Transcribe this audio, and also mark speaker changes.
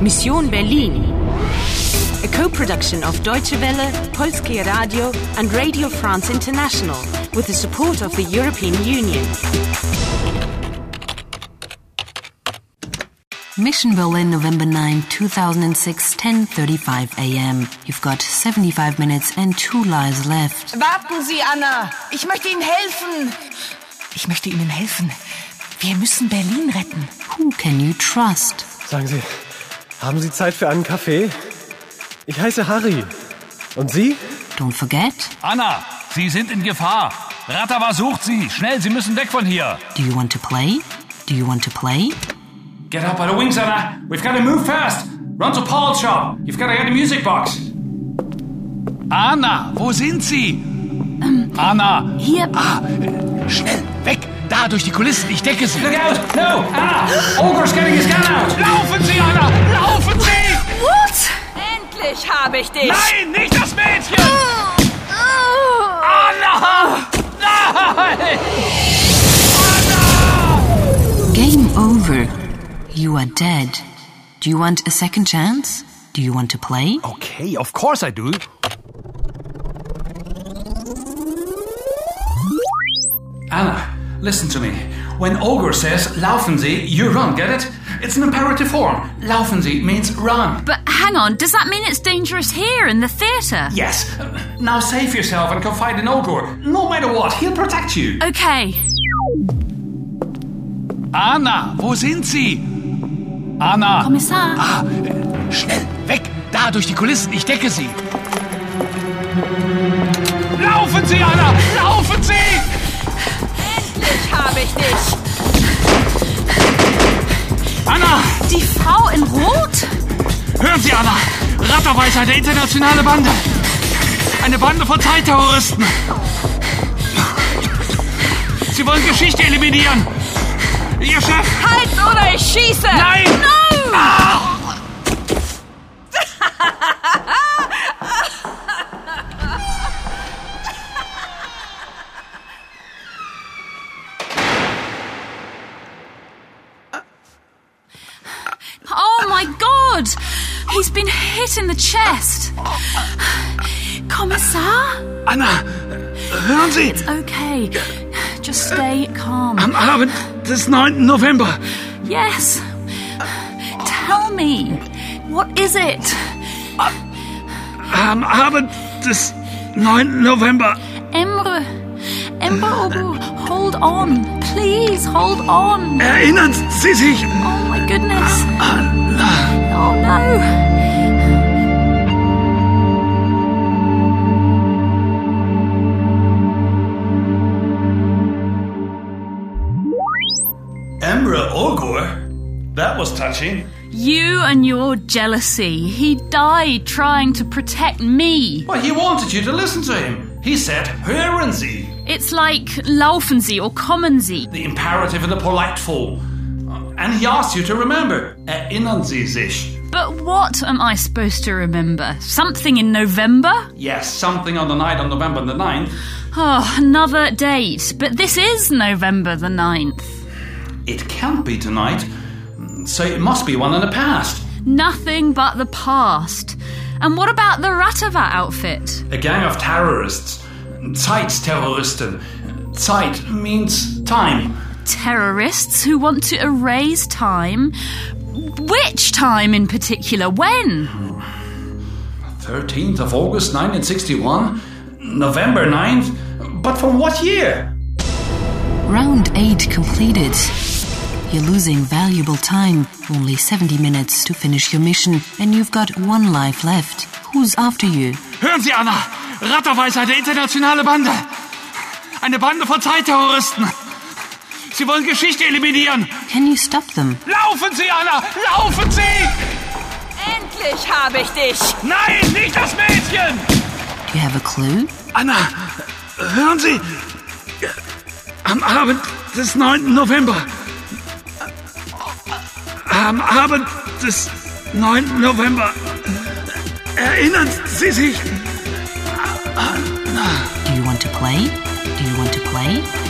Speaker 1: Mission Berlin. A co-production of Deutsche Welle, Polskie Radio and Radio France International with the support of the European Union.
Speaker 2: Mission Berlin, November 9, 2006, 10.35 a.m. You've got 75 minutes and two lives left.
Speaker 3: Warten Sie, Anna. Ich möchte Ihnen helfen.
Speaker 4: Ich möchte Ihnen helfen. Wir müssen Berlin retten.
Speaker 2: Who can you trust?
Speaker 5: Sagen Sie, haben Sie Zeit für einen Kaffee? Ich heiße Harry. Und Sie?
Speaker 2: Don't forget,
Speaker 6: Anna, Sie sind in Gefahr. Ratawa sucht Sie. Schnell, Sie müssen weg von hier.
Speaker 2: do you want to play? Do you want to play?
Speaker 6: Get up by the wings, Anna. We've got to move fast. Run to Paul's shop. You've got to get a music box. Anna, wo sind Sie? Anna.
Speaker 4: Hier.
Speaker 6: Ah, äh, schnell, weg. Da, durch die Kulissen. Ich decke Sie. Look out. No, Anna. Ogre's getting his gun out. Laufen Sie, Anna. Laufen Sie.
Speaker 3: Endlich habe ich dich.
Speaker 6: Nein, nicht das Mädchen. Anna. Nein.
Speaker 2: Game over. You are dead. Do you want a second chance? Do you want to play?
Speaker 6: Okay, of course I do. Anna, listen to me. When Ogre says laufen Sie, you run, get it? It's an imperative form. Laufen Sie means run.
Speaker 7: But hang on, does that mean it's dangerous here in the theatre?
Speaker 6: Yes. Now save yourself and confide in Ogre. No matter what, he'll protect you.
Speaker 7: Okay.
Speaker 6: Anna, wo sind Sie? Anna.
Speaker 7: Kommissar.
Speaker 6: Ah, äh, schnell, weg! Da, durch die Kulissen, ich decke sie! Laufen Sie, Anna! Laufen Sie!
Speaker 3: Endlich habe ich dich.
Speaker 6: Anna!
Speaker 7: Die Frau in Rot?
Speaker 6: Hören Sie, Anna! Ratterweisheit, eine internationale Bande! Eine Bande von Zeitterroristen! Sie wollen Geschichte eliminieren! Ihr Chef!
Speaker 3: Halt oder ich schieße.
Speaker 6: Nein! Ah!
Speaker 7: Oh my god! He's been hit in the chest. Kommissar?
Speaker 6: Anna! Hören Sie!
Speaker 7: Okay. Just stay calm.
Speaker 6: Am Abend des 9. November
Speaker 7: Yes. Tell me. What is it?
Speaker 6: Am Abend des 9. November.
Speaker 7: Emre. Emre Obu, hold on. Please, hold on.
Speaker 6: Erinnern Sie sich?
Speaker 7: Oh my goodness. Oh no.
Speaker 6: Emra Ogor? That was touching.
Speaker 7: You and your jealousy. He died trying to protect me.
Speaker 6: Well, he wanted you to listen to him. He said, Hören Sie,
Speaker 7: It's like laufen Sie or kommen Sie.
Speaker 6: the imperative in the polite form. And he asked you to remember, Erinnern Sie sich.
Speaker 7: But what am I supposed to remember? Something in November?
Speaker 6: Yes, something on the night on November the 9th.
Speaker 7: Oh, another date. But this is November the 9th.
Speaker 6: It can't be tonight, so it must be one in the past.
Speaker 7: Nothing but the past. And what about the Ratava outfit?
Speaker 6: A gang of terrorists. Zeitterroristen. Zeit means time.
Speaker 7: Terrorists who want to erase time. Which time in particular? When?
Speaker 6: 13th of August 1961, November 9th, but from what year?
Speaker 2: Round 8 completed. You're losing valuable time. Only 70 minutes to finish your mission, and you've got one life left. Who's after you?
Speaker 6: Hören Sie, Anna! Ratterweisheit, eine internationale Bande! Eine Bande von Zeitterroristen! Sie wollen Geschichte eliminieren!
Speaker 2: Can you stop them?
Speaker 6: Laufen Sie, Anna! Laufen Sie!
Speaker 3: Endlich habe ich dich.
Speaker 6: Nein, nicht das Mädchen!
Speaker 2: Do you have a clue?
Speaker 6: Anna, hören Sie! Am Abend des 9. November. Am Abend des 9. November. Erinnern Sie sich?
Speaker 2: Do you want to play? Do you want to play?